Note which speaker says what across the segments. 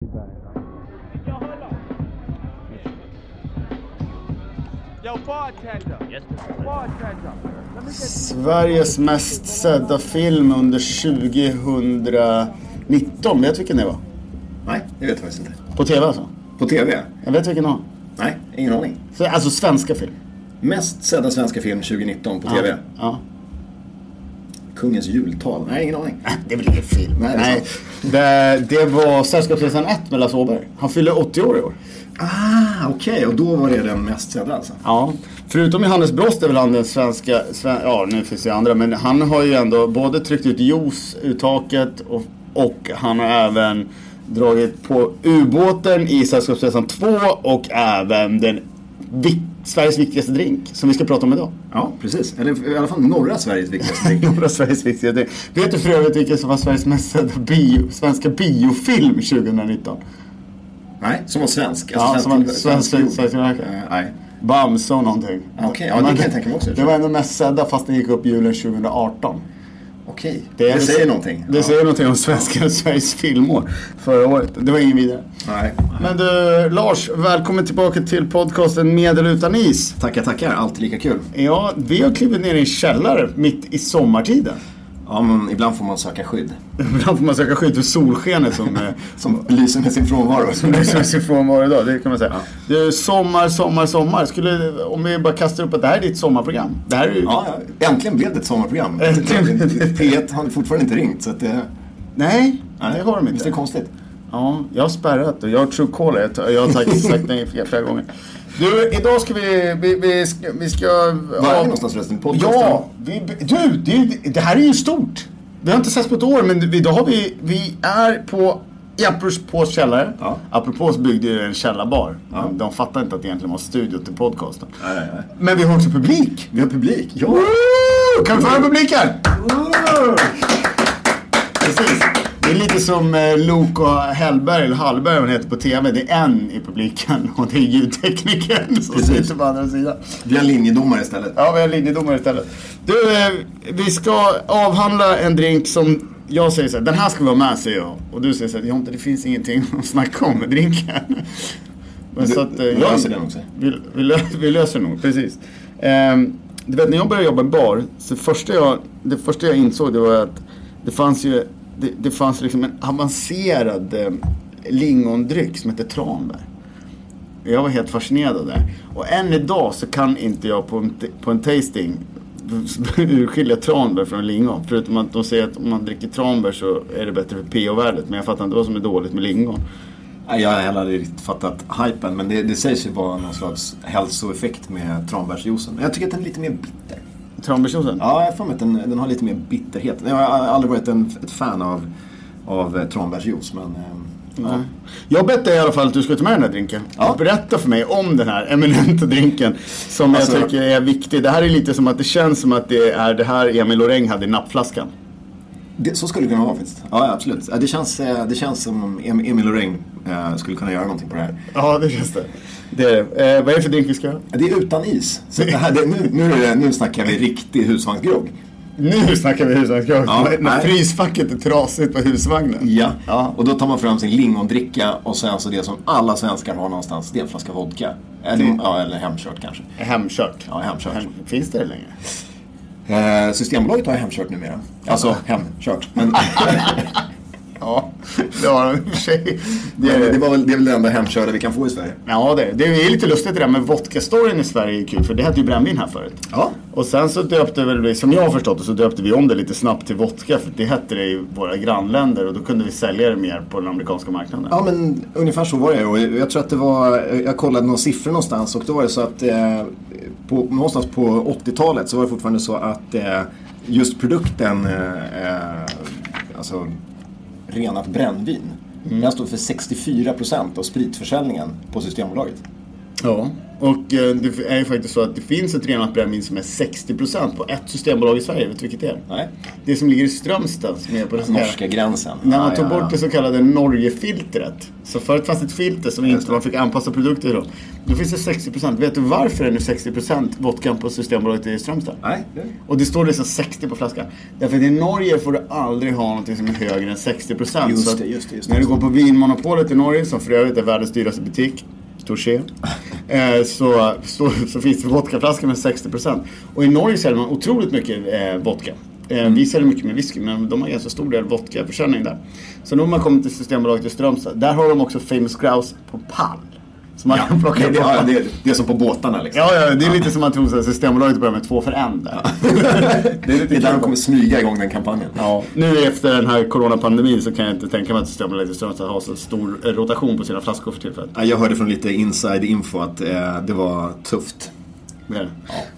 Speaker 1: Berg.
Speaker 2: Yo, bartender.
Speaker 3: Yes, Mr. President.
Speaker 2: Bartender. Let me get
Speaker 4: Sveriges mest sedda film under 2019. Vet du vilken det var?
Speaker 5: Nej, det vet jag faktiskt inte.
Speaker 4: På TV alltså?
Speaker 5: På TV?
Speaker 4: Jag vet vilken det var.
Speaker 5: Nej, ingen aning.
Speaker 4: Så, alltså svenska film.
Speaker 5: Mest sedda svenska film 2019 på TV?
Speaker 4: Ja. ja.
Speaker 5: Kungens jultal? Nej, ingen aning.
Speaker 4: Äh, Det är väl ingen film?
Speaker 5: Nej, det är
Speaker 4: Nej. Det, det var Sällskapsresan 1 med Lasse Åberg. Han fyller 80 år i år.
Speaker 5: Ah, okej. Och då var det den mest sedda alltså?
Speaker 4: Ja, förutom Johannes Brost är väl han den svenska, sven, ja nu finns det andra, men han har ju ändå både tryckt ut juice ur taket och, och han har även dragit på ubåten i Sällskapsresan 2 och även den vik- Sveriges viktigaste drink som vi ska prata om idag.
Speaker 5: Ja, precis. Eller i alla fall norra Sveriges viktigaste drink.
Speaker 4: Norra Sveriges viktigaste drink. Vet du för övrigt vilken som var Sveriges mest sedda bio, svenska biofilm 2019?
Speaker 5: Nej, som var svensk. Alltså,
Speaker 4: Ja, som var svensk-
Speaker 5: film.
Speaker 4: svensk tillverkare.
Speaker 5: Eh, nej.
Speaker 4: Bamse och någonting.
Speaker 5: Okej, ja, det
Speaker 4: Men
Speaker 5: kan jag tänka mig också.
Speaker 4: Det var ändå mest sedda fast den gick upp julen 2018.
Speaker 5: Okej.
Speaker 4: är-
Speaker 5: Det, säger någonting.
Speaker 4: Det
Speaker 5: Ja.
Speaker 4: säger någonting om svenska Sveriges filmår förra året. Det var ingen vidare.
Speaker 5: Nej.
Speaker 4: Men du, Lars, välkommen tillbaka till podcasten Medel utan is.
Speaker 5: Tackar, tackar. Alltid lika kul.
Speaker 4: Ja, vi har klivit ner i en källare mitt i sommartiden.
Speaker 5: Ja, men ibland får man söka skydd.
Speaker 4: Ibland får man söka skydd för solskenet som, eh,
Speaker 5: Som lyser med sin frånvaro.
Speaker 4: som lyser med sin frånvaro idag. Det kan man säga. Det är sommar, sommar, sommar. Skulle, om vi bara kastar upp att det här är ditt sommarprogram. Det här är ju...
Speaker 5: Ja, ja. äntligen blev det ett sommarprogram.
Speaker 4: Äntligen.
Speaker 5: P1 har fortfarande inte ringt, så att det...
Speaker 4: Nej, det har de
Speaker 5: Visst
Speaker 4: inte.
Speaker 5: är det konstigt?
Speaker 4: Ja, jag har spärrat och jag har truecaller. Jag tar- Jag har sagt, sagt nej flera, flera gånger. Du, idag ska vi... Vi, vi ska... Vi ska
Speaker 5: Var är vi
Speaker 4: ja,
Speaker 5: någonstans förresten? Podcasten?
Speaker 4: Ja! Vi, du, det, är ju- det här är ju stort. Vi har inte setts på ett år, men idag har vi... Vi är på... I Apropos källare.
Speaker 5: Ja.
Speaker 4: Apropos byggde ju en källarbar.
Speaker 5: Ja.
Speaker 4: De fattar inte att det egentligen var studio till podcasten.
Speaker 5: Nej, nej, nej.
Speaker 4: Men vi har också publik.
Speaker 5: Vi har publik. Ja!
Speaker 4: Woo! Kan vi få höra publiken? Precis. Det är lite som eh, Lok och Hellberg, eller Hallberg vad han heter på TV. Det är en i publiken och det är ljudteknikern som
Speaker 5: Precis.
Speaker 4: sitter på andra sidan.
Speaker 5: Vi har linjedomare istället.
Speaker 4: Ja, vi har linjedomare istället. Du, eh, vi ska avhandla en drink som jag säger så här, den här ska vara med säger jag. Och du säger så här, Jonte det finns ingenting att snacka om med drinken. Men
Speaker 5: Du-
Speaker 4: så att, eh,
Speaker 5: du
Speaker 4: jag-
Speaker 5: löser den också.
Speaker 4: Vi, vi, lö- vi löser nog, precis. Ehm, du vet när jag började jobba i bar, så första jag, det första jag insåg det var att det fanns ju det, det fanns liksom en avancerad eh, lingondryck som hette tranbär. Jag var helt fascinerad av det. här. Och än idag så kan inte jag på en, på en tasting urskilja tranbär från lingon. Förutom att de säger att om man dricker tranbär så är det bättre för pH-värdet. Men jag fattar inte vad som är dåligt med lingon.
Speaker 5: Nej, Jag har heller aldrig riktigt fattat hypen, men det, det sägs ju vara någon slags hälsoeffekt med tranbärsjuicen. Men Jag tycker att den är lite mer bitter.
Speaker 4: Tranbärsjuicen?
Speaker 5: Ja, jag har för mig att den, den har lite mer bitterhet. Jag har aldrig varit en, ett fan av, av eh, tranbärsjuice, men... eh, Ja.
Speaker 4: Mm. Jag bett dig i alla fall att du skulle ta med den här drinken.
Speaker 5: Ja.
Speaker 4: Och berätta för mig om den här eminenta drinken. Som
Speaker 5: Alltså-
Speaker 4: jag tycker är viktig. Det här är lite som att det känns som att det är det här Emil Loreng hade i nappflaskan.
Speaker 5: Det, så skulle det kunna vara faktiskt. Ja, ja, absolut. Ja, Det känns, eh, det känns som om Em- Emil Loreng eh, skulle kunna göra någonting på det här.
Speaker 4: Ja, det känns det. det, är det. eh, vad är det för drink vi ska göra?
Speaker 5: Det är utan is. Så det här, det, nu, nu, är det- nu snackar vi riktig husvagnsgrogg.
Speaker 4: Nu snackar vi husvagnsgrogg.
Speaker 5: Ja,
Speaker 4: När
Speaker 5: nej.
Speaker 4: frysfacket är trasigt på husvagnen.
Speaker 5: Ja.
Speaker 4: Ja.
Speaker 5: och då tar man fram sin lingondricka och sen så alltså det som alla svenskar har någonstans, det är en flaska vodka. Eller,
Speaker 4: Mm.
Speaker 5: ja, eller hemkört kanske.
Speaker 4: Hemkört.
Speaker 5: Ja, hemkört.
Speaker 4: Finns det det längre?
Speaker 5: Eh, Systembolaget har hemkört numera. Alltså hemkört. Men,
Speaker 4: Ja, det har de i och för sig. Det
Speaker 5: men
Speaker 4: är,
Speaker 5: det, var väl, det är väl det enda hemkörda vi kan få i Sverige.
Speaker 4: Ja, det, det är lite lustigt det där med vodka-storyn i Sverige är kul, för det hette ju brännvin här förut.
Speaker 5: Ja.
Speaker 4: Och sen så döpte väl vi, som jag har förstått det, så döpte vi om det lite snabbt till vodka, för det hette det i våra grannländer och då kunde vi sälja det mer på den amerikanska marknaden.
Speaker 5: Ja men ungefär så var det och jag tror att det var, jag kollade några siffror någonstans och då var det så att eh, på, någonstans på 80-talet så var det fortfarande så att eh, just produkten, eh, eh, alltså renat
Speaker 4: Mm.
Speaker 5: brännvin, den stod för 64% av spritförsäljningen på Systembolaget.
Speaker 4: Ja, och eh, det är ju faktiskt så att det finns ett renat brännvin som är 60% på ett systembolag i Sverige. Vet du vilket det är?
Speaker 5: Nej.
Speaker 4: Det som ligger i Strömstad som är på den så kallade-
Speaker 5: Norska gränsen.
Speaker 4: När man
Speaker 5: Ja,
Speaker 4: tog
Speaker 5: ja, ja.
Speaker 4: bort det så kallade Norgefiltret. Så förut fanns ett filter som inte man fick anpassa produkter till. då. Då finns det 60%. Vet du varför det är nu 60% vodkan på Systembolaget i Strömstad?
Speaker 5: Nej, det-
Speaker 4: Och det står liksom 60 på flaskan. Därför att i Norge får du aldrig ha någonting som är högre än 60 procent.
Speaker 5: Just det, just det, just det.
Speaker 4: När du går på Vinmonopolet i Norge, som för övrigt är världens dyraste butik, Torché, eh, så, så, så finns det vodkaflaskor med 60 procent. Och i Norge säljer man otroligt mycket eh, vodka. Eh,
Speaker 5: Mm.
Speaker 4: Vi säljer mycket med whisky, men de har ganska stor del vodkaförsäljning där. Så nu har man kommit till Systembolaget i Strömstad. Där har de också Famous Grouse på pall. Så man kan plocka
Speaker 5: det, det,
Speaker 4: på
Speaker 5: ja,
Speaker 4: pall.
Speaker 5: det, det är som på båtarna liksom.
Speaker 4: Ja, ja, det är lite som man tror så här, Systembolaget börjar med två för en där.
Speaker 5: Det är, det är där de kommer smyga igång den kampanjen.
Speaker 4: Ja, nu efter den här coronapandemin så kan jag inte tänka mig att Systembolaget i Strömstad har så stor eh, rotation på sina flaskor för tillfället.
Speaker 5: Ja, Jag hörde från lite inside info att eh, det var tufft.
Speaker 4: Det är det.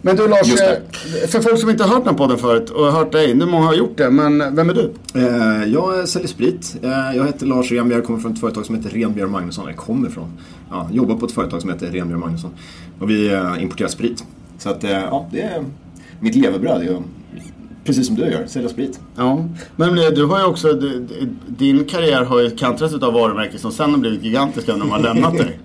Speaker 4: Men du Lars,
Speaker 5: Just
Speaker 4: eh, för folk som inte har hört den här podden förut och har hört dig, nu många har gjort det, men vem är du?
Speaker 5: Eh, jag säljer sprit. Eh, jag heter Lars Renbjer kommer från ett företag som heter Renbjer Magnusson. Eller kommer från. Ja, jobbar på ett företag som heter Renbjer Magnusson. Och vi eh, importerar sprit. Så att, eh, ja, det är mitt levebröd. Jag, precis som du gör, sälja sprit.
Speaker 4: Ja, men eh, du har ju också, d- d- din karriär har ju kantrats av varumärken som sen har blivit gigantiska när de har lämnat dig.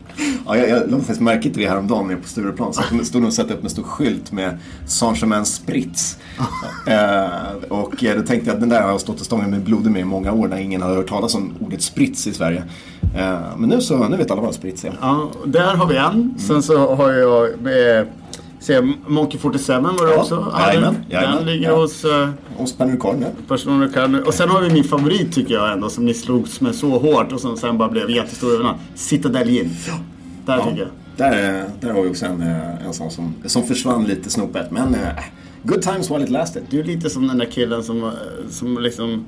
Speaker 5: Ja, jag, jag lade faktiskt märke till det häromdagen nere på Stureplan. Så det stod de och satte upp en stor skylt med Saint-Germain Spritz. eh, och eh, då tänkte jag att den där har jag stått och stångat mig blodig med i många år när ingen har hört talas om ordet Spritz i Sverige. Eh, men nu så, nu vet alla vad Spritz är.
Speaker 4: Ja, och där har vi en. Sen så har jag, eh, ser, Monkey 47 var det
Speaker 5: Ja,
Speaker 4: också.
Speaker 5: jajamän, jajamän,
Speaker 4: Den ligger
Speaker 5: ja.
Speaker 4: hos... eh,
Speaker 5: Och Spanner Korn, ja.
Speaker 4: Personer och kan. Och sen har vi min favorit tycker jag ändå som ni slogs med så hårt och som sen bara blev jättestor över natt. Citadelin. Där tycker jag.
Speaker 5: Där, eh, där har vi också en, eh, en sån som, som försvann lite snopet. Men eh, good times while it lasted.
Speaker 4: Du är lite som den där killen som, eh, som liksom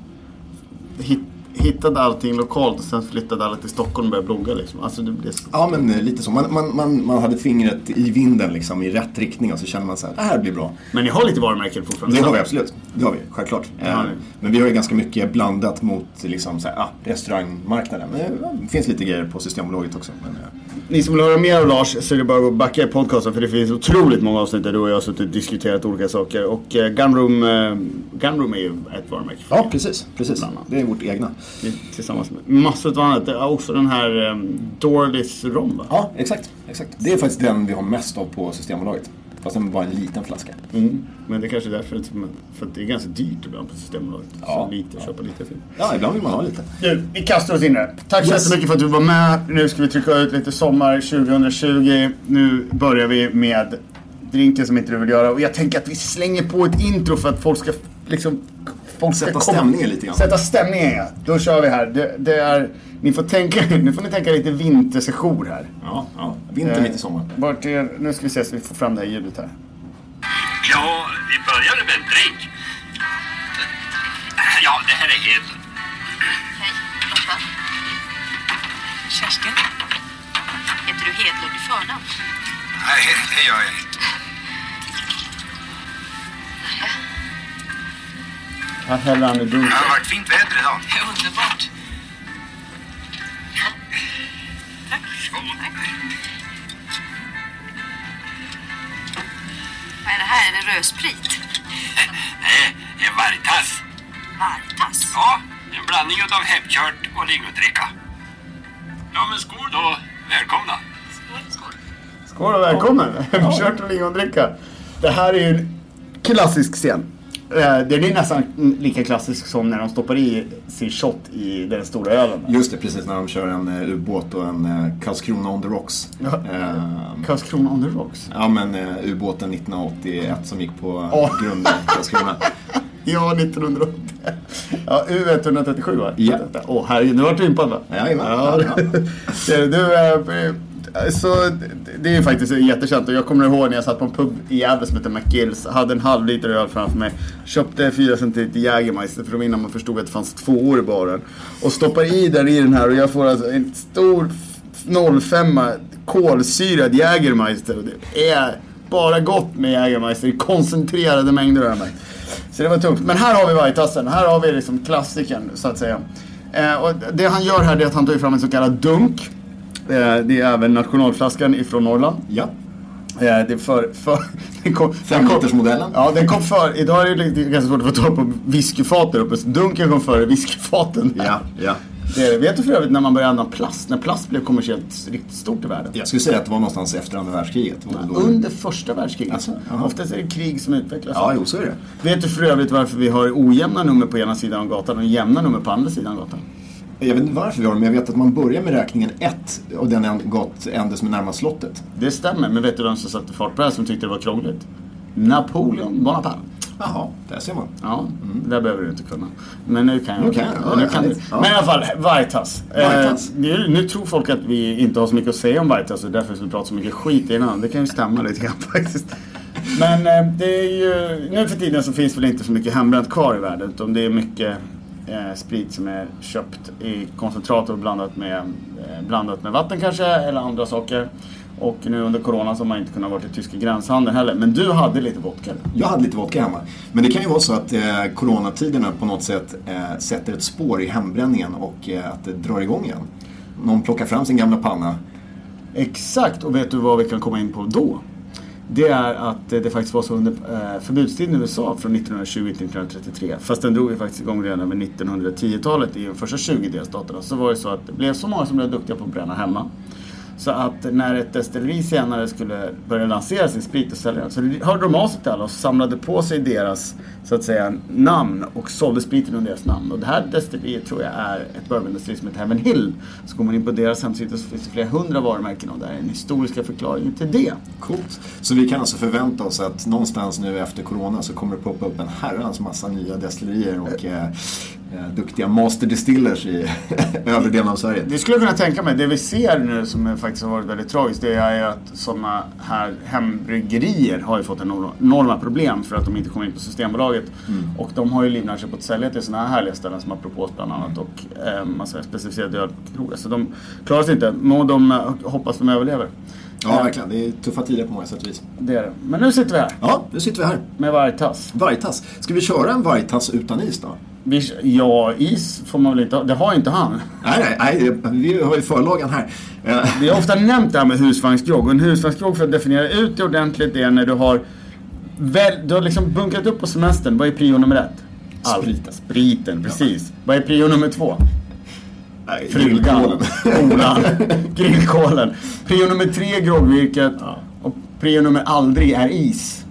Speaker 4: hit, hittade allting lokalt och sen flyttade alla till Stockholm och började blogga liksom. Alltså du blev...
Speaker 5: Ja, men eh, lite så. Man, man, man, man hade fingret i vinden liksom, i rätt riktning och så kände man så här, det här blir bra.
Speaker 4: Men ni har lite varumärken fortfarande?
Speaker 5: Det har vi absolut. Det har vi, självklart. Eh,
Speaker 4: ni.
Speaker 5: Men vi har ju ganska mycket blandat mot liksom, så här, ah, restaurangmarknaden. Men eh, det finns lite grejer på Systembolaget också. Men, eh,
Speaker 4: Ni som vill höra mer av Lars så är det bara att gå och backa i podcasten för det finns otroligt många avsnitt där du och jag har suttit och diskuterat olika saker. Och eh, Gunroom, eh, Gunroom är ju ett varumärke.
Speaker 5: ja, precis. precis.
Speaker 4: Bland annat.
Speaker 5: Det är vårt egna.
Speaker 4: Tillsammans med massor av annat. Det är också den här um, Dorlis rom va?
Speaker 5: Ja, exakt, exakt. Det är faktiskt den vi har mest av på Systembolaget. Fast den är bara en liten flaska.
Speaker 4: Mm. Men det är kanske är därför, inte- för att det är ganska dyrt ibland på Systembolaget.
Speaker 5: Ja.
Speaker 4: Så lite, köpa lite film.
Speaker 5: Ja, ibland vill man ha lite.
Speaker 4: Du, vi kastar oss in där. Tack så
Speaker 5: Yes.
Speaker 4: jättemycket för att du var med. Nu ska vi trycka ut lite sommar 2020. Nu börjar vi med drinken som inte du vill göra. Och jag tänker att vi slänger på ett intro för att folk ska liksom... Folk ska
Speaker 5: Sätta
Speaker 4: komma-
Speaker 5: stämningen lite grann.
Speaker 4: Sätta stämningen ja. Då kör vi här. Det, det är, ni får tänka, nu får ni tänka lite vintersession här.
Speaker 5: Ja, ja. Vinter mitt i sommaren.
Speaker 4: Eh, Vart är, nu ska vi se så vi får fram det här ljudet här.
Speaker 1: Ja, vi började med en drink. Ja, det här är Hedlund.
Speaker 3: Hej, Lotta. Kerstin. Heter du Hedlund i förnamn?
Speaker 1: Nej, det gör jag inte.
Speaker 4: Här häller han i
Speaker 1: Det
Speaker 4: dunken.
Speaker 1: har varit fint väder idag.
Speaker 3: Underbart. Vad är det här? Är det rödsprit?
Speaker 1: Nej, en vargtass.
Speaker 3: Vargtass?
Speaker 1: Ja, en blandning utav hemkört och lingodricka. Ja, men skål då. Välkomna.
Speaker 4: Skål och välkommen! Kört och lingondricka. Det här är ju en klassisk scen. Eh, Den är nästan mm, lika klassisk som när de stoppar i sin shot i den stora ölen.
Speaker 5: Just det, precis när de kör en eh, ubåt och en eh, Karlskrona on the rocks.
Speaker 4: Ja.
Speaker 5: Eh,
Speaker 4: Karlskrona on the rocks.
Speaker 5: Ja men eh, ubåten 1981 som gick på
Speaker 4: Ja.
Speaker 5: oh. grunden i Karlskrona.
Speaker 4: Ja, 1980. Ja, U137 va?
Speaker 5: Ja.
Speaker 4: Åh herregud, nu vart du impad va?
Speaker 5: Jajamän.
Speaker 4: Du, du, eh, så det är ju faktiskt jättekänt och jag kommer ihåg när jag satt på en pub i Gävle som hette McGills. Hade en halv liter öl framför mig. Köpte fyra centiliter Jägermeister för det var innan man förstod att det fanns två år i baren. Och stoppar i där i den här och jag får alltså en stor f- 05 kolsyrad Jägermeister. Och det är bara gott med Jägermeister i koncentrerade mängder har jag märkt. Så det var tungt. Men här har vi vargtassen. Här har vi liksom klassikern så att säga. Eh, och det han gör här det är att han tar ju fram en så kallad dunk. Eh, Det är även nationalflaskan ifrån Norrland.
Speaker 5: Ja.
Speaker 4: Eh, Det är för... för den kom,
Speaker 5: Femlitersmodellen.
Speaker 4: Ja, den kom före. Idag är det lite- ganska svårt att få tag på whiskyfat där uppe. Så dunken kom före whiskyfaten.
Speaker 5: Ja, ja.
Speaker 4: Det är, det. vet du för övrigt när man började använda plast? När plast blev kommersiellt riktigt stort i världen?
Speaker 5: Jag skulle säga att det var någonstans efter andra världskriget. Var det då-
Speaker 4: Under första världskriget.
Speaker 5: Alltså, jaha.
Speaker 4: Oftast är det krig som utvecklas.
Speaker 5: Ja, jo, så är det.
Speaker 4: Vet du för övrigt varför vi har ojämna nummer på ena sidan av gatan och jämna nummer på andra sidan av gatan?
Speaker 5: Jag vet inte varför vi har det, men jag vet att man börjar med räkningen 1 och den en- gatände som är närmast slottet.
Speaker 4: Det stämmer, men vet du vem som satte fart på det här som tyckte det var krångligt? Napoleon Bonaparte.
Speaker 5: Jaha, där ser man.
Speaker 4: Ja, det där behöver du inte kunna. Men nu kan jag.
Speaker 5: Nu kan jag.
Speaker 4: Ja, nu kan du.
Speaker 5: Ja.
Speaker 4: Men i alla fall, Vargtass.
Speaker 5: Vargtass.
Speaker 4: Eh, nu, nu tror folk att vi inte har så mycket att säga om Vargtass och därför vi pratar så mycket skit innan. Det kan ju stämma lite grann faktiskt. Men eh, det är ju, nu för tiden så finns väl inte så mycket hembränt kvar i världen. Utan det är mycket eh, sprit som är köpt i koncentrat och blandat med, eh, blandat med vatten kanske eller andra saker. Och nu under Corona så har man inte kunnat vara i tyska gränshandeln heller. Men du hade lite vodka.
Speaker 5: Jag hade lite vodka hemma. Men det kan ju vara så att eh, coronatiderna på något sätt eh, sätter ett spår i hembränningen och eh, att det drar igång igen. Någon plockar fram sin gamla panna.
Speaker 4: Exakt, och vet du vad vi kan komma in på då? Det är att eh, det faktiskt var så under eh, förbudstiden i USA från 1920 till 1933. Fast den drog ju faktiskt igång redan över 1910-talet i de första 20 delstaterna. Så var det så att det blev så många som blev duktiga på att bränna hemma. Så att när ett destilleri senare skulle börja lansera sin sprit och sälja den så hörde de av sig till alla och samlade på sig deras så att säga namn och sålde spriten under deras namn. Och det här destilleriet tror jag är ett bourbondestilleri som heter Heaven Hill. Så går man in på deras hemsida så finns det flera hundra varumärken och det här är den historiska förklaringen till det.
Speaker 5: Coolt. Så vi kan alltså förvänta oss att någonstans nu efter corona så kommer det poppa upp en herrans massa nya destillerier och eh, eh, duktiga master distillers i övre delen av Sverige.
Speaker 4: Det skulle jag kunna tänka mig. Det vi ser nu som är- faktiskt har varit väldigt tragiskt det är ju att sådana här hembryggerier har ju fått enor- enorma problem för att de inte kommer in på Systembolaget. Och de har ju livnärt sig på att sälja till sådana här härliga ställen som Apropos bland annat och eh, massa specificerade ölkrogar. Så de klarar sig inte. Må de eh, hoppas de överlever.
Speaker 5: Ja, verkligen. Det är tuffa tider på många sätt och vis.
Speaker 4: Det är det. Men nu sitter vi här
Speaker 5: Ja, nu sitter vi här.
Speaker 4: med vargtass.
Speaker 5: Vargtass. Ska vi köra en vargtass utan is då?
Speaker 4: Vi, ja, is får man väl inte ha. Det har ju inte han.
Speaker 5: Nej, nej, nej. Vi har ju förlagen här. Eh,
Speaker 4: Vi har ofta nämnt det här med husvagnsgrogg. Och en husvagnsgrogg för att definiera ut det ordentligt det är när du har, väl, du har liksom bunkrat upp på semestern. Vad är prio nummer ett? Allt.
Speaker 5: Spriten.
Speaker 4: Spriten, precis. Vad är prio nummer två?
Speaker 5: nej,
Speaker 4: Frugan.
Speaker 5: grillkålen.
Speaker 4: Kolan. Grillkålen. Prio nummer tre groggvirket.
Speaker 5: Ja. Mm,
Speaker 4: Och prio nummer aldrig är is.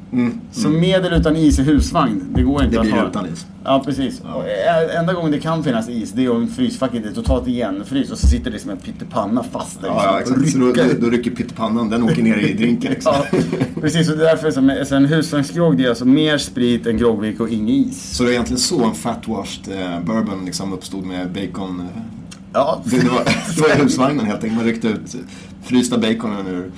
Speaker 4: Så med eller utan is i husvagn, det går inte
Speaker 5: Det
Speaker 4: att
Speaker 5: blir
Speaker 4: ha.
Speaker 5: utan is.
Speaker 4: Ja, precis. Och eh, enda gången det kan finnas is, det är om frysfacket är totalt igenfryst och så sitter det som en pyttipanna fast där.
Speaker 5: Ja, ja,
Speaker 4: liksom, och
Speaker 5: exakt. Så då,
Speaker 4: rycker.
Speaker 5: då- då rycker pyttipannan, den åker ner i drinken. Liksom.
Speaker 4: Ja, precis. Och det är därför som så en husvagnsgrogg, det är alltså mer sprit än groggvirke och ingen is.
Speaker 5: Så det är egentligen så en fatwashed eh, bourbon liksom uppstod med bacon. eh,
Speaker 4: Ja,
Speaker 5: Det, det var, det var i husvagnen helt enkelt. Man ryckte ut eh, frysta baconen ur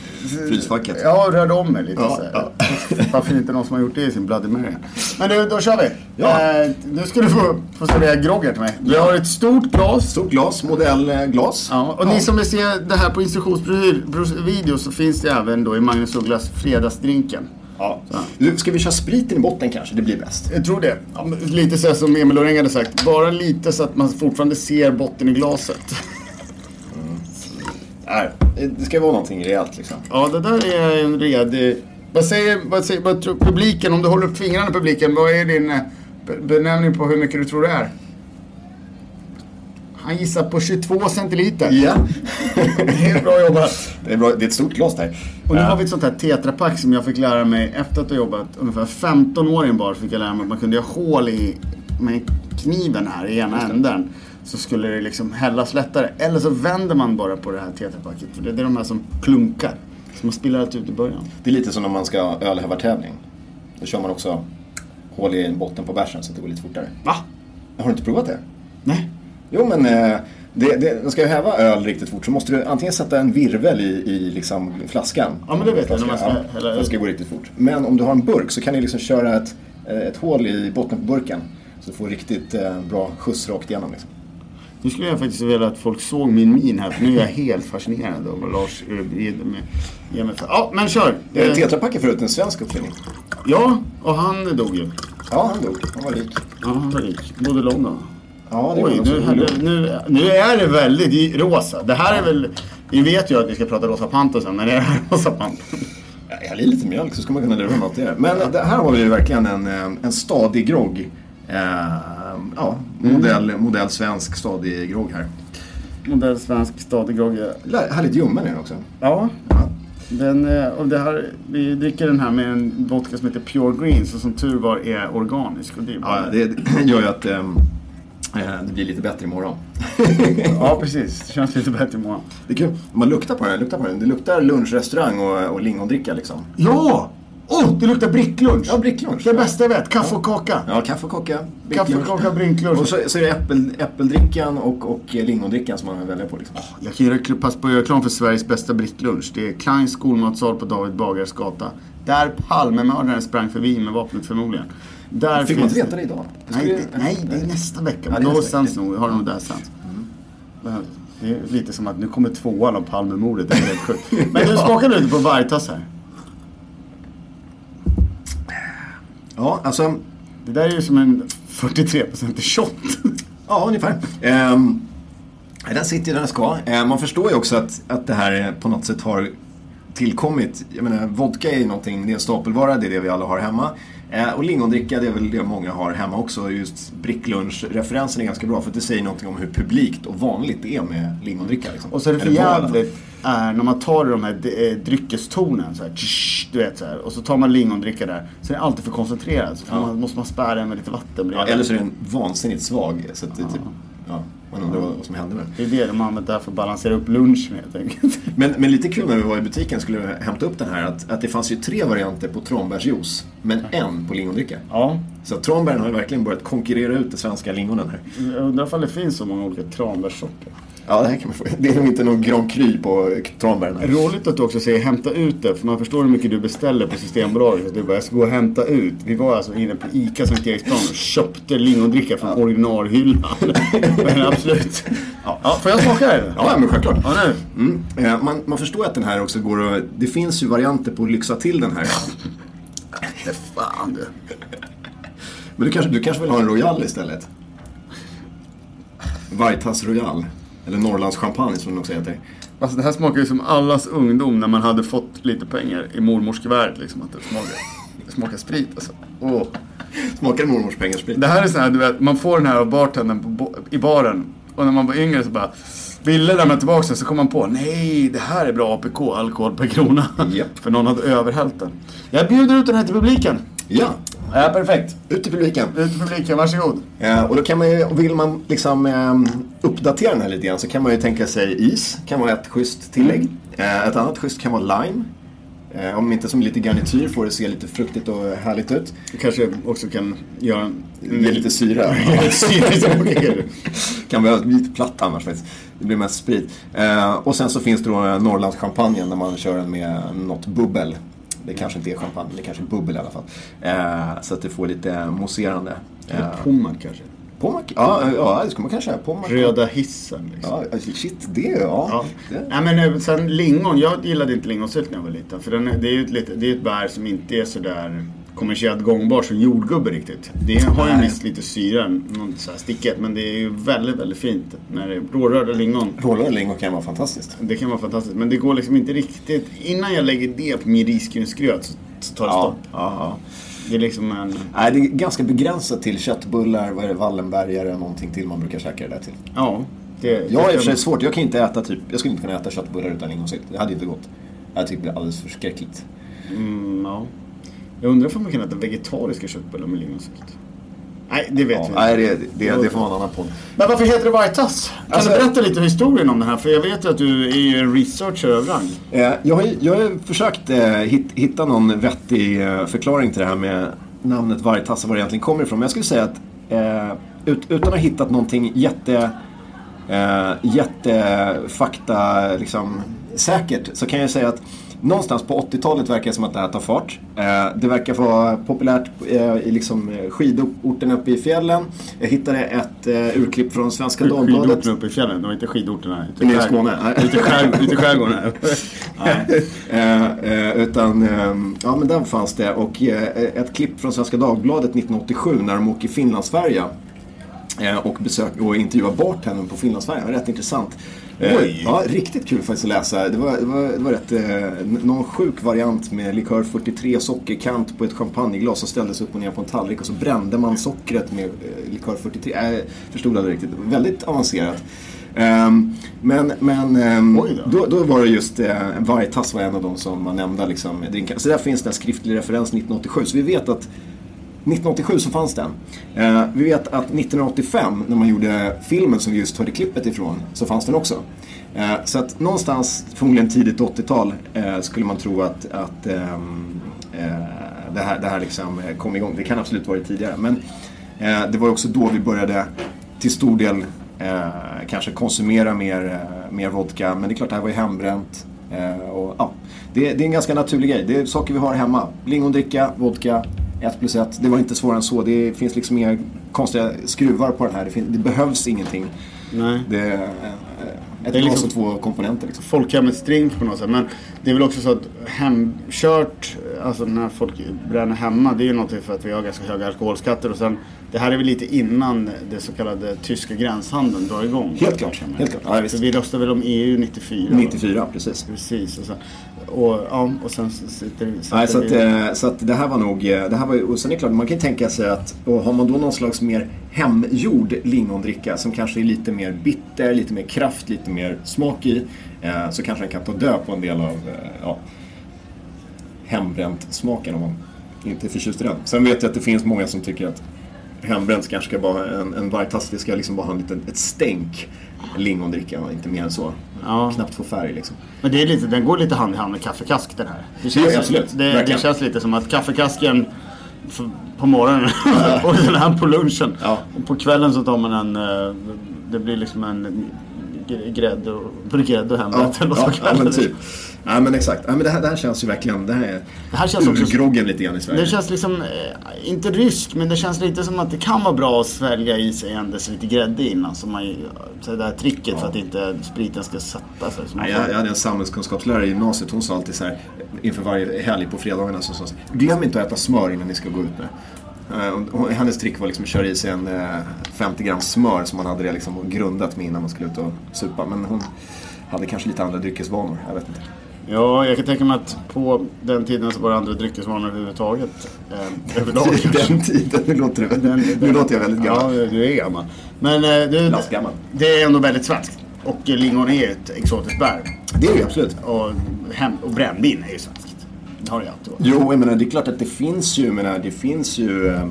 Speaker 5: frysfacket.
Speaker 4: Ja, rörde om mig lite
Speaker 5: Ja,
Speaker 4: så här.
Speaker 5: ja.
Speaker 4: Varför är det inte någon som har gjort det i sin Bloody Mary? Men du, då kör vi.
Speaker 5: Ja.
Speaker 4: Eh, nu ska du få, få servera groggen till mig. Vi har ett stort glas.
Speaker 5: Stort glas, modellglas.
Speaker 4: Ja, och ni som vill se det här på instruktionsvideo så finns det även då i Magnus Ugglas Fredagsdrinken.
Speaker 5: Ja. Du, Ska vi köra spriten i botten kanske? Det blir bäst.
Speaker 4: Jag tror det. Lite så här som Emil Loreng hade sagt. Bara lite så att man fortfarande ser botten i glaset.
Speaker 5: Här. Eh, Det ska vara någonting rejält liksom.
Speaker 4: Ja, det där är en redig... Vad säger, vad säger vad tror publiken, om du håller upp fingrarna i publiken, vad är din eh, be- benämning på hur mycket du tror det är? Han gissar på 22 centiliter.
Speaker 5: Ja.
Speaker 4: Det är bra jobbat.
Speaker 5: Det är, bra. det är ett stort glas där.
Speaker 4: Och nu har vi ett sånt här tetrapack som jag fick lära mig efter att ha jobbat ungefär 15 år i en bar. Fick jag lära mig att man kunde göra hål i, med kniven här i ena änden. Så skulle det liksom hällas lättare. Eller så vänder man bara på det här tetrapacket. För det det är de här som klunkar. Så man spiller allt ut i början.
Speaker 5: Det är lite som när man ska ha ölhävartävling. Då kör man också hål i botten på bärsen så att det går lite fortare.
Speaker 4: Va?
Speaker 5: Har du inte provat det?
Speaker 4: Nej.
Speaker 5: Jo men, eh, det, det, ska jag häva öl riktigt fort så måste du antingen sätta en virvel i, i liksom flaskan.
Speaker 4: Ja, men det vet jag,
Speaker 5: Flaskan,
Speaker 4: när man ska
Speaker 5: ja,
Speaker 4: hälla
Speaker 5: för
Speaker 4: ut.
Speaker 5: det ska gå riktigt fort. Men om du har en burk så kan du liksom köra ett, eh, ett hål i botten på burken. Så du får riktigt eh, bra skjuts rakt igenom. Liksom.
Speaker 4: Nu skulle jag faktiskt vilja att folk såg min min här. För nu är jag helt fascinerad av vad Lars eh, ger mig- ger mig för. Ja, men kör.
Speaker 5: Eh,
Speaker 4: Eh,
Speaker 5: Tetra Pak är förut en svensk uppfinning.
Speaker 4: Ja, och han dog ju.
Speaker 5: Ja, han dog. Han var lik.
Speaker 4: Ja, han var rik. Bodde i London.
Speaker 5: Ja, det
Speaker 4: Oj,
Speaker 5: var
Speaker 4: nu,
Speaker 5: alltså-
Speaker 4: hade, nu, nu är det väldigt i- rosa. Det här är väl... Vi vet ju att vi ska prata rosa panter sen, men är det här rosa panter?
Speaker 5: Ja, Häll i lite mjölk så ska man kunna lura något i det. Men det här har vi ju verkligen en, eh, en stadig grogg. Eh, ja,
Speaker 4: Mm.
Speaker 5: modell, modell svensk stadig grogg här.
Speaker 4: Modell svensk stadig grogg.
Speaker 5: Lä- Härligt ljummen är den också.
Speaker 4: Ja.
Speaker 5: Ja.
Speaker 4: Den, eh, och det här, vi dricker den här med en vodka som heter Pure Greens och som tur var är organisk. Och det är
Speaker 5: Ja,
Speaker 4: bara,
Speaker 5: det gör ju att eh, eh, det blir lite bättre imorgon.
Speaker 4: ja, precis. Det känns lite bättre imorgon.
Speaker 5: Det är kul. Man luktar på den, luktar på den. Det luktar lunchrestaurang och, och lingondricka liksom.
Speaker 4: Ja! Åh, oh, det luktar bricklunch!
Speaker 5: Ja, bricklunch.
Speaker 4: Det bästa jag vet, kaffe och kaka.
Speaker 5: Ja, kaffe och kaka.
Speaker 4: Kaffe,
Speaker 5: bricklunch.
Speaker 4: kaka, bricklunch.
Speaker 5: Och så, så är det äppel, äppeldrickan och, och lingondrickan som man kan välja på. Liksom.
Speaker 4: Jag kan ju rekl- passa på att göra reklam för Sveriges bästa bricklunch. Det är Kleins skolmatsal på David Bagares gata. Där Palmemördaren sprang förbi med vapnet förmodligen. Där
Speaker 5: Fick man
Speaker 4: finns
Speaker 5: inte veta det idag?
Speaker 4: Nej, det, nej, det är nästa vecka.
Speaker 5: Ja,
Speaker 4: Men
Speaker 5: det är
Speaker 4: då
Speaker 5: nästa Mm.
Speaker 4: sänds nog, har de nog där sänds. Det är lite som att nu kommer tvåan om Palmemordet. Det är helt sjukt. Men du skakar du lite på vargtass här.
Speaker 5: Ja, alltså.
Speaker 4: Det där är ju som en 43% shot.
Speaker 5: Ja, ungefär. Ehm, den sitter ju där den ska. Ehm, man förstår ju också att, att det här eh, på något sätt har tillkommit. Jag menar, vodka är ju någonting, det är en stapelvara, det är det vi alla har hemma. Eh, och lingondricka, det är väl det många har hemma också. Just bricklunch-referensen är ganska bra för att det säger någonting om hur publikt och vanligt det är med lingondricka. Liksom.
Speaker 4: Och så är det för
Speaker 5: Eller var i alla fall.
Speaker 4: jävligt är när man tar de här eh, dryckestonen så här, tsch, du vet så här, och så tar man lingondricka där, så är det alltid för koncentrerat. Så får
Speaker 5: Ja.
Speaker 4: man, måste man spä den med lite vatten
Speaker 5: Ja,
Speaker 4: bredvid.
Speaker 5: eller så är den vansinnigt svag. Så att det, typ, ja, man undrar vad, vad som hände med den.
Speaker 4: Det är det de använder där för att balansera upp lunch med helt enkelt.
Speaker 5: Men, men lite kul när vi var i butiken skulle vi hämta upp den här att, att det fanns ju tre varianter på tranbärsjuice men en på lingondricka.
Speaker 4: Ja,
Speaker 5: Så att tranbären har ju verkligen börjat konkurrera ut de svenska lingonen här.
Speaker 4: jag undrar ifall det finns så många olika tranbärssorter.
Speaker 5: Ja, det här kan man få. Det är nog inte någon Grand Cru på tranbären. här.
Speaker 4: Roligt att du också säger hämta ut det, för man förstår hur mycket du beställer på Systembolaget. Att Du bara, jag ska gå och hämta ut. Vi var alltså inne på ICA Sankt Eriksplan och köpte lingondricka från originalhyllan. Men absolut. Ja. får jag smaka det?
Speaker 5: Ja, men självklart.
Speaker 4: Ja, nu.
Speaker 5: Mm. Eh, Man, man förstår ju att den här också går att... Det finns ju varianter på att lyxa till den här.
Speaker 4: Det fan du.
Speaker 5: Men du kanske, du kanske vill ha en Royal istället? Vargtass Royal. Eller Norrlands Champagne som den också heter.
Speaker 4: Alltså det här smakar ju som allas ungdom när man hade fått lite pengar i mormors kuvert. Liksom, att det, smakar, det smakar sprit alltså. Åh.
Speaker 5: Smakar mormors pengarsprit?
Speaker 4: Det här är så här, du vet, man får den här av bartendern på, bo- i baren. Och när man var yngre så bara, ville lämna tillbaka den så kom man på, nej det här är bra APK, alkohol per krona.
Speaker 5: Japp.
Speaker 4: För någon hade överhällt den. Jag bjuder ut den här till publiken.
Speaker 5: Ja,
Speaker 4: Ja, perfekt.
Speaker 5: ut i publiken.
Speaker 4: Ut till publiken, varsågod.
Speaker 5: Eh, och då kan man ju, och vill man liksom eh, uppdatera den här lite grann så kan man ju tänka sig is, kan vara ett schysst tillägg. Eh, ett annat schysst kan vara lime. Eh, om inte som lite garnityr får det se lite fruktigt och härligt ut.
Speaker 4: Du kanske också kan göra en...
Speaker 5: Ge lite syra. kan vara lite platt annars faktiskt. Det blir mest sprit. Eh, och sen så finns det då Norrlandschampagnen när man kör den med något bubbel. Det kanske inte är champagne, det kanske är bubbel i alla fall. Eh, så att det får lite mousserande. Eh,
Speaker 4: Pommac kanske.
Speaker 5: Pommac? Ja, eh, ja, det skulle man kanske göra. Pommac.
Speaker 4: Röda hissen liksom.
Speaker 5: Ja, alltså, shit, det ja.
Speaker 4: Ja.
Speaker 5: Det.
Speaker 4: Nej men eh, sen lingon, jag gillade inte lingonsylt när jag var liten. För den, är- det är ju ett, lite, det är ett bär som inte är sådär kommersiellt gångbar som jordgubbe riktigt. Det har ju
Speaker 5: Nej.
Speaker 4: mest lite syra, något så här sticket. Men det är ju väldigt, väldigt fint när det är rårörda lingon.
Speaker 5: Rårörda lingon kan vara fantastiskt.
Speaker 4: Det kan vara fantastiskt. Men det går liksom inte riktigt. Innan jag lägger det på min risgrynsgröt så- så tar det
Speaker 5: Ja,
Speaker 4: stopp.
Speaker 5: ja, ja.
Speaker 4: Det är liksom en...
Speaker 5: Nej, det är ganska begränsat till köttbullar, vad är det, Wallenbergare och någonting till man brukar käka det där till.
Speaker 4: Ja. Det,
Speaker 5: Jag har i
Speaker 4: det
Speaker 5: och för sig svårt, jag kan inte äta typ, jag skulle inte kunna äta köttbullar utan lingonsylt. Det hade inte gått. Jag tycker det typ blir alldeles förskräckligt.
Speaker 4: Mm, ja. Jag undrar om man kan äta vegetariska köttbullar med lingonsylt. Nej, det vet vi
Speaker 5: Ja,
Speaker 4: inte.
Speaker 5: nej, det, det, det får vara en annan podd.
Speaker 4: Men varför heter det Vargtass? Kan
Speaker 5: Alltså-
Speaker 4: du berätta lite historien om det här? För jag vet ju att du är ju en researcher av rang.
Speaker 5: Eh, Jag har, ju- jag har ju försökt eh, hit- hitta någon vettig eh, förklaring till det här med namnet vargtass och var det egentligen kommer ifrån. Men jag skulle säga att eh, ut, utan att ha hittat någonting jätte, eh, jättefakta liksom, säkert så kan jag säga att någonstans på 80-talet verkar det som att det här tar fart. Eh, det verkar vara populärt eh, i liksom, eh, skidorten uppe i fjällen. Jag hittade ett eh, urklipp från Svenska Dagbladet.
Speaker 4: Skidorterna uppe i fjällen, de var inte skidorterna. Ute
Speaker 5: Nej,
Speaker 4: skärgården.
Speaker 5: Skåne.
Speaker 4: Ute i skärgården. Ute i skärgården. här.
Speaker 5: Nej. Eh, eh, utan, eh, ja men den fanns det. Och eh, ett klipp från Svenska Dagbladet 1987 när de åker Finlandsfärja. eh, och, besök, och intervjua bartendern på Finlandsfärjan. Det var rätt intressant. Eh,
Speaker 4: Oj.
Speaker 5: Ja, riktigt kul faktiskt att läsa. Det var, det var, det var rätt, eh, n- någon sjuk variant med likör 43 sockerkant på ett champagneglas som ställdes upp och ner på en tallrik och så brände man sockret med eh, likör 43. Jag förstod aldrig riktigt. Väldigt avancerat. Ehm, men men ehm,
Speaker 4: Oj då.
Speaker 5: då, då, då var det just eh, Vargtass var en av de som var nämnda liksom, drinkar. Så där finns den skriftlig referens 1987. Så vi vet att 1987 så fanns den. Eh, vi vet att 1985 när man gjorde filmen som vi just hörde klippet ifrån så fanns den också. Eh, så att någonstans, förmodligen tidigt 80-tal, eh, skulle man tro att, att ehm, eh, det, här, det här liksom eh, kom igång. Det kan absolut vara tidigare. Men eh, det var också då vi började till stor del eh, kanske konsumera mer, eh, mer vodka. Men det är klart, det här var ju hembränt. Eh, och, ja, det, det är en ganska naturlig grej. Det är saker vi har hemma. Lingondricka, vodka, 1 plus 1. Det var inte svårare än så. Det finns liksom inga konstiga skruvar på den här. Det, fin- det behövs ingenting.
Speaker 4: Nej.
Speaker 5: Det är, eh, ett
Speaker 4: Det är
Speaker 5: glas
Speaker 4: liksom-
Speaker 5: och två komponenter liksom.
Speaker 4: folkhemmets drink på något sätt. Men det är väl också så att hemkört, alltså när folk bränner hemma, det är ju någonting för att vi har ganska höga alkoholskatter. Och sen, det här är väl lite innan det så kallade tyska gränshandeln drar igång.
Speaker 5: Helt klart,
Speaker 4: Kan man
Speaker 5: helt
Speaker 4: säga.
Speaker 5: klart. Ja, visst.
Speaker 4: För vi röstade väl om EU 94? va?
Speaker 5: 94, precis.
Speaker 4: Precis. Och sen, och, ja, och sen så sitter vi...
Speaker 5: Nej, så, att, eh, så att det här var nog, eh, det här var ju, och sen är det klart, man kan ju tänka sig att, och har man då någon slags mer hemgjord lingondricka som kanske är lite mer bitter, lite mer kraft, lite mer smak i, eh, så kanske den kan ta död på en del av eh, ja, hembränt smaken om man inte är förtjust i den. Sen vet jag att det finns många som tycker att hembränt kanske ska vara en, en vargtass, det ska liksom bara ha en liten, ett stänk lingondricka, och inte mer än så.
Speaker 4: Ja.
Speaker 5: Knappt få färg liksom.
Speaker 4: Men det är lite, den går lite hand i hand med kaffekask den här. Det
Speaker 5: Ja, absolut.
Speaker 4: det, det
Speaker 5: Verkligen.
Speaker 4: känns lite som att kaffekasken f- på morgonen och den här på lunchen.
Speaker 5: Ja.
Speaker 4: Och på kvällen så tar man en, eh, det blir liksom en gr- grädde och brigade och hembränt eller vad man
Speaker 5: ja,
Speaker 4: kallar
Speaker 5: men
Speaker 4: det.
Speaker 5: typ. Ja, men exakt. Ja, men det, här, det här känns ju verkligen, det här är
Speaker 4: Det här känns också-
Speaker 5: urgroggen lite grann i Sverige.
Speaker 4: Det känns liksom, eh, inte rysk, men det känns lite som att det kan vara bra att svälja i sig en lite grädde innan. Så man, ju- så det där tricket för att inte spriten ska sätta sig. Så man
Speaker 5: Ja,
Speaker 4: får-
Speaker 5: jag, jag hade en samhällskunskapslärare i gymnasiet, hon sa alltid så här inför varje helg på fredagarna, så sa hon så här, glöm inte att äta smör innan ni ska gå ut nu. Eh, och- och Hennes trick var liksom att köra i sig en eh, 50 gram smör som man hade det liksom grundat med innan man skulle ut och supa. Men hon hade kanske lite andra dryckesvanor, jag vet inte.
Speaker 4: Ja, jag kan tänka mig att på den tiden så var det andra dryckesvanor överhuvudtaget. Eh, överlag. kanske.
Speaker 5: Den tiden, nu låter, det,
Speaker 4: Den-
Speaker 5: nu
Speaker 4: den-
Speaker 5: låter jag väldigt gammal.
Speaker 4: Ja, du är gammal. Men eh, du,
Speaker 5: Lastgammal.
Speaker 4: det är ändå väldigt svenskt. Och eh, lingon är ju ett exotiskt bär.
Speaker 5: Det är det ju absolut.
Speaker 4: Och, hem, och brännvin är ju svenskt. Det har det ju alltid varit.
Speaker 5: Jo, jag menar, det är klart att det finns ju, jag menar, det finns ju eh,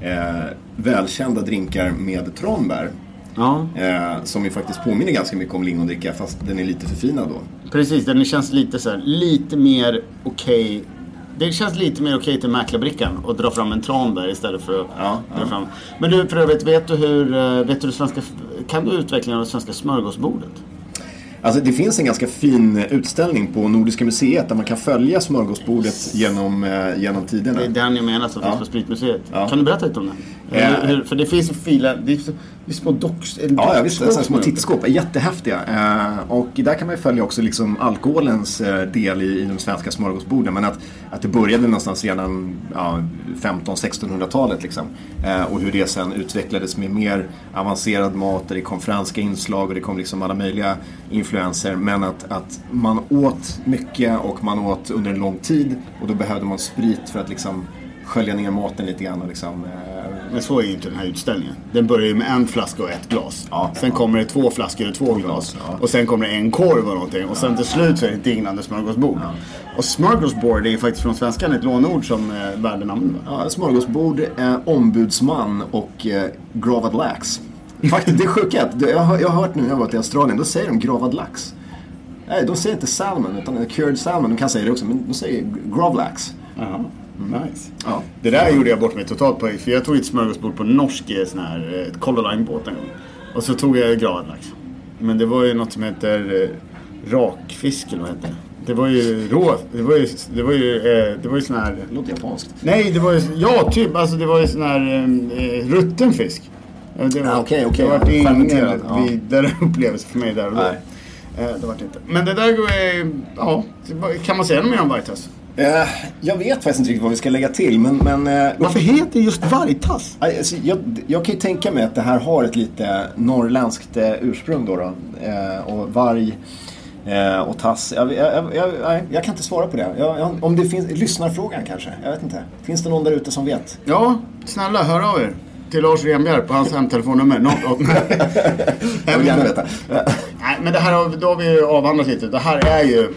Speaker 5: eh, välkända drinkar med tranbär.
Speaker 4: Ja,
Speaker 5: Eh, som ju faktiskt påminner ganska mycket om lingondricka fast den är lite förfinad då.
Speaker 4: precis. Den känns lite så här, lite mer okej. Det känns lite mer okej till mäklarbrickan och dra fram en tran där istället för att
Speaker 5: Ja,
Speaker 4: dra
Speaker 5: ja.
Speaker 4: fram. Men du för övrigt, vet du hur, eh, vet du det svenska, kan du utvecklingen av det svenska smörgåsbordet?
Speaker 5: Alltså det finns en ganska fin utställning på Nordiska museet där man kan följa smörgåsbordet genom, eh, genom tiderna.
Speaker 4: Det är den jag menar som finns
Speaker 5: Ja.
Speaker 4: på Spritmuseet.
Speaker 5: Ja.
Speaker 4: Kan du berätta lite om den?
Speaker 5: Eh.
Speaker 4: Hur- hur- För det finns ju filer, det är, så- det är små docks... eller
Speaker 5: Ja, ja
Speaker 4: dockskåp
Speaker 5: visst. Det är sådana små
Speaker 4: som är-
Speaker 5: tittskåp. Jättehäftiga. Eh, och där kan man ju följa också liksom alkoholens eh, del i, i de svenska smörgåsborden. Men att, att det började någonstans redan ja, 15-1600-talet. Liksom. Eh, och hur det sen utvecklades med mer avancerad mat där det kom franska inslag och det kom liksom alla möjliga influenser. Men att, att man åt mycket och man åt under en lång tid och då behövde man sprit för att liksom skölja ner maten lite grann och liksom eh,
Speaker 4: Men så är ju inte den här utställningen. Den börjar ju med en flaska och ett glas.
Speaker 5: Ja,
Speaker 4: sen
Speaker 5: ja.
Speaker 4: kommer det två flaskor och två glas.
Speaker 5: Ja.
Speaker 4: Och sen kommer det en korv och någonting. Och sen till slut så är det ett dinglande smörgåsbord. Och smörgåsbord är ju faktiskt från svenskan ett lånord som eh, världen använder.
Speaker 5: Ja, smörgåsbord, eh, ombudsman och eh, gravad lax. Faktiskt, det är sjukt. att det- Jag har, jag har hört nu när jag varit i Australien, då säger de gravad lax. Nej, de säger inte salmon, utan cured salmon. De kan säga det också, men de säger grav lax.
Speaker 4: Jaha, Mm. Nice.
Speaker 5: Ja.
Speaker 4: Det där gjorde jag bort mig totalt på. För jag tog ett smörgåsbord på en norsk eh, sån här eh, Color Line-båt en gång. Och så tog jag gravlax. Men det var ju något som heter eh, rakfisk eller vad heter det? Det var ju rå... Det var ju... Det var ju, eh, det var ju sån här...
Speaker 5: Det låter japanskt.
Speaker 4: Nej, det var ju... Ja, typ. Alltså det var ju sån här eh, rutten fisk. Eh, Det var,
Speaker 5: Ja, Ah, okej, okej.
Speaker 4: det var ingen
Speaker 5: Fermenterad, ja.
Speaker 4: vidare upplevelse för mig där och då.
Speaker 5: Nej.
Speaker 4: Eh, det vart inte. Men det där går, eh, ja, kan man säga något mer om vargtass?
Speaker 5: Eh, jag vet faktiskt inte riktigt vad vi ska lägga till, men... men eh,
Speaker 4: Varför heter det just vargtass?
Speaker 5: Alltså, jag, jag kan ju tänka mig att det här har ett lite norrländskt eh, ursprung då. då. Eh, och varg eh, och tass. Jag, jag, jag, jag, nej, jag kan inte svara på det. Jag, jag, om det finns, lyssnarfrågan kanske? Jag vet inte. Finns det någon där ute som vet?
Speaker 4: Ja, snälla hör av er. Till Lars Renbjerg på hans hemtelefonnummer. 08.
Speaker 5: Jag vill gärna veta.
Speaker 4: Nej, men det här har, då har vi ju avhandlat lite. Det här är ju...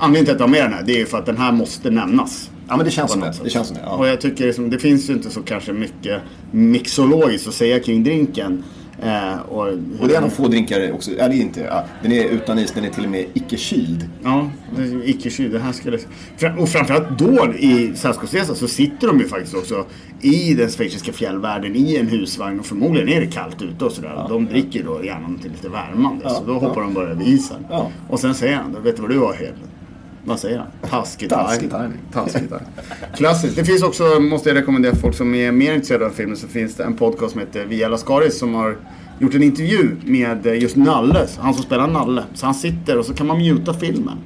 Speaker 4: Anledningen till att jag har med den här, det är ju för att den här måste nämnas.
Speaker 5: Ja, men det känns som
Speaker 4: på något
Speaker 5: det.
Speaker 4: sätt.
Speaker 5: Alltså, Det känns som det.
Speaker 4: Och
Speaker 5: Ja.
Speaker 4: jag tycker liksom, det finns ju inte så kanske mycket mixologiskt att säga kring drinken. Eh, och,
Speaker 5: Och det är en av få drinkar också. Ja, det är inte. Ja, den är utan is, den är till och med icke-kyld.
Speaker 4: Ja, det är ju icke-kyl. Det här skulle... Fra- Och framförallt då i Sällskapsresan så sitter de ju faktiskt också i den schweiziska fjällvärlden i en husvagn och förmodligen är det kallt ute och sådär. de dricker då gärna någonting lite värmande. så då hoppar de bara över isen.
Speaker 5: Ja.
Speaker 4: Och sen säger han, vet du vad du har helt? Vad säger han? Taskig
Speaker 5: Taskig
Speaker 4: timing.
Speaker 5: timing.
Speaker 4: Taskig timing. Klassiskt. Det finns också, måste jag rekommendera för folk som är mer intresserade av filmen, så finns det en podcast som heter Via Lascaris som har gjort en intervju med eh, just Nalle, han som spelar Nalle. Så han sitter och så kan man muta filmen.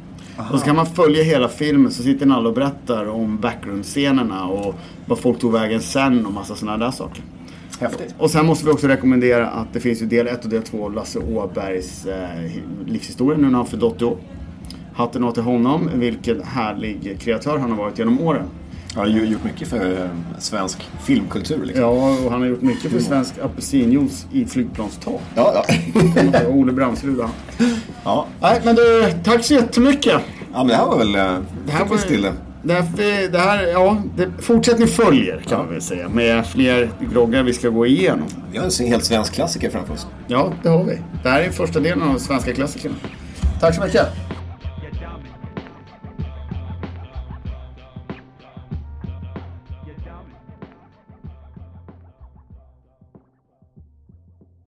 Speaker 4: Och så kan man följa hela filmen, så sitter Nalle och berättar om backgroundscenerna och vad folk tog vägen sen och massa sådana där saker.
Speaker 5: Häftigt.
Speaker 4: Och sen måste vi också rekommendera att det finns ju del 1 och del 2 av Lasse Åbergs eh, livshistoria nu när han fyllt 80 år. Hatten av till honom, vilken härlig kreatör han har varit genom åren.
Speaker 5: Ja, jag har gjort mycket för eh, svensk filmkultur liksom.
Speaker 4: Ja, och han har gjort mycket för svensk apelsinjuice i flygplanstak.
Speaker 5: Ja, ja.
Speaker 4: Ole Bramsrud han.
Speaker 5: ja.
Speaker 4: Nej, men du, tack så jättemycket.
Speaker 5: ja men det här var väl... eh, fick vi
Speaker 4: var-
Speaker 5: till det.
Speaker 4: Det här, det här ja, det, fortsättning följer kan man väl säga. Med fler groggar vi ska gå igenom.
Speaker 5: Vi har en helt svensk klassiker framför oss.
Speaker 4: Ja, det har vi. Det här är första delen av Svenska klassikerna. Tack så mycket.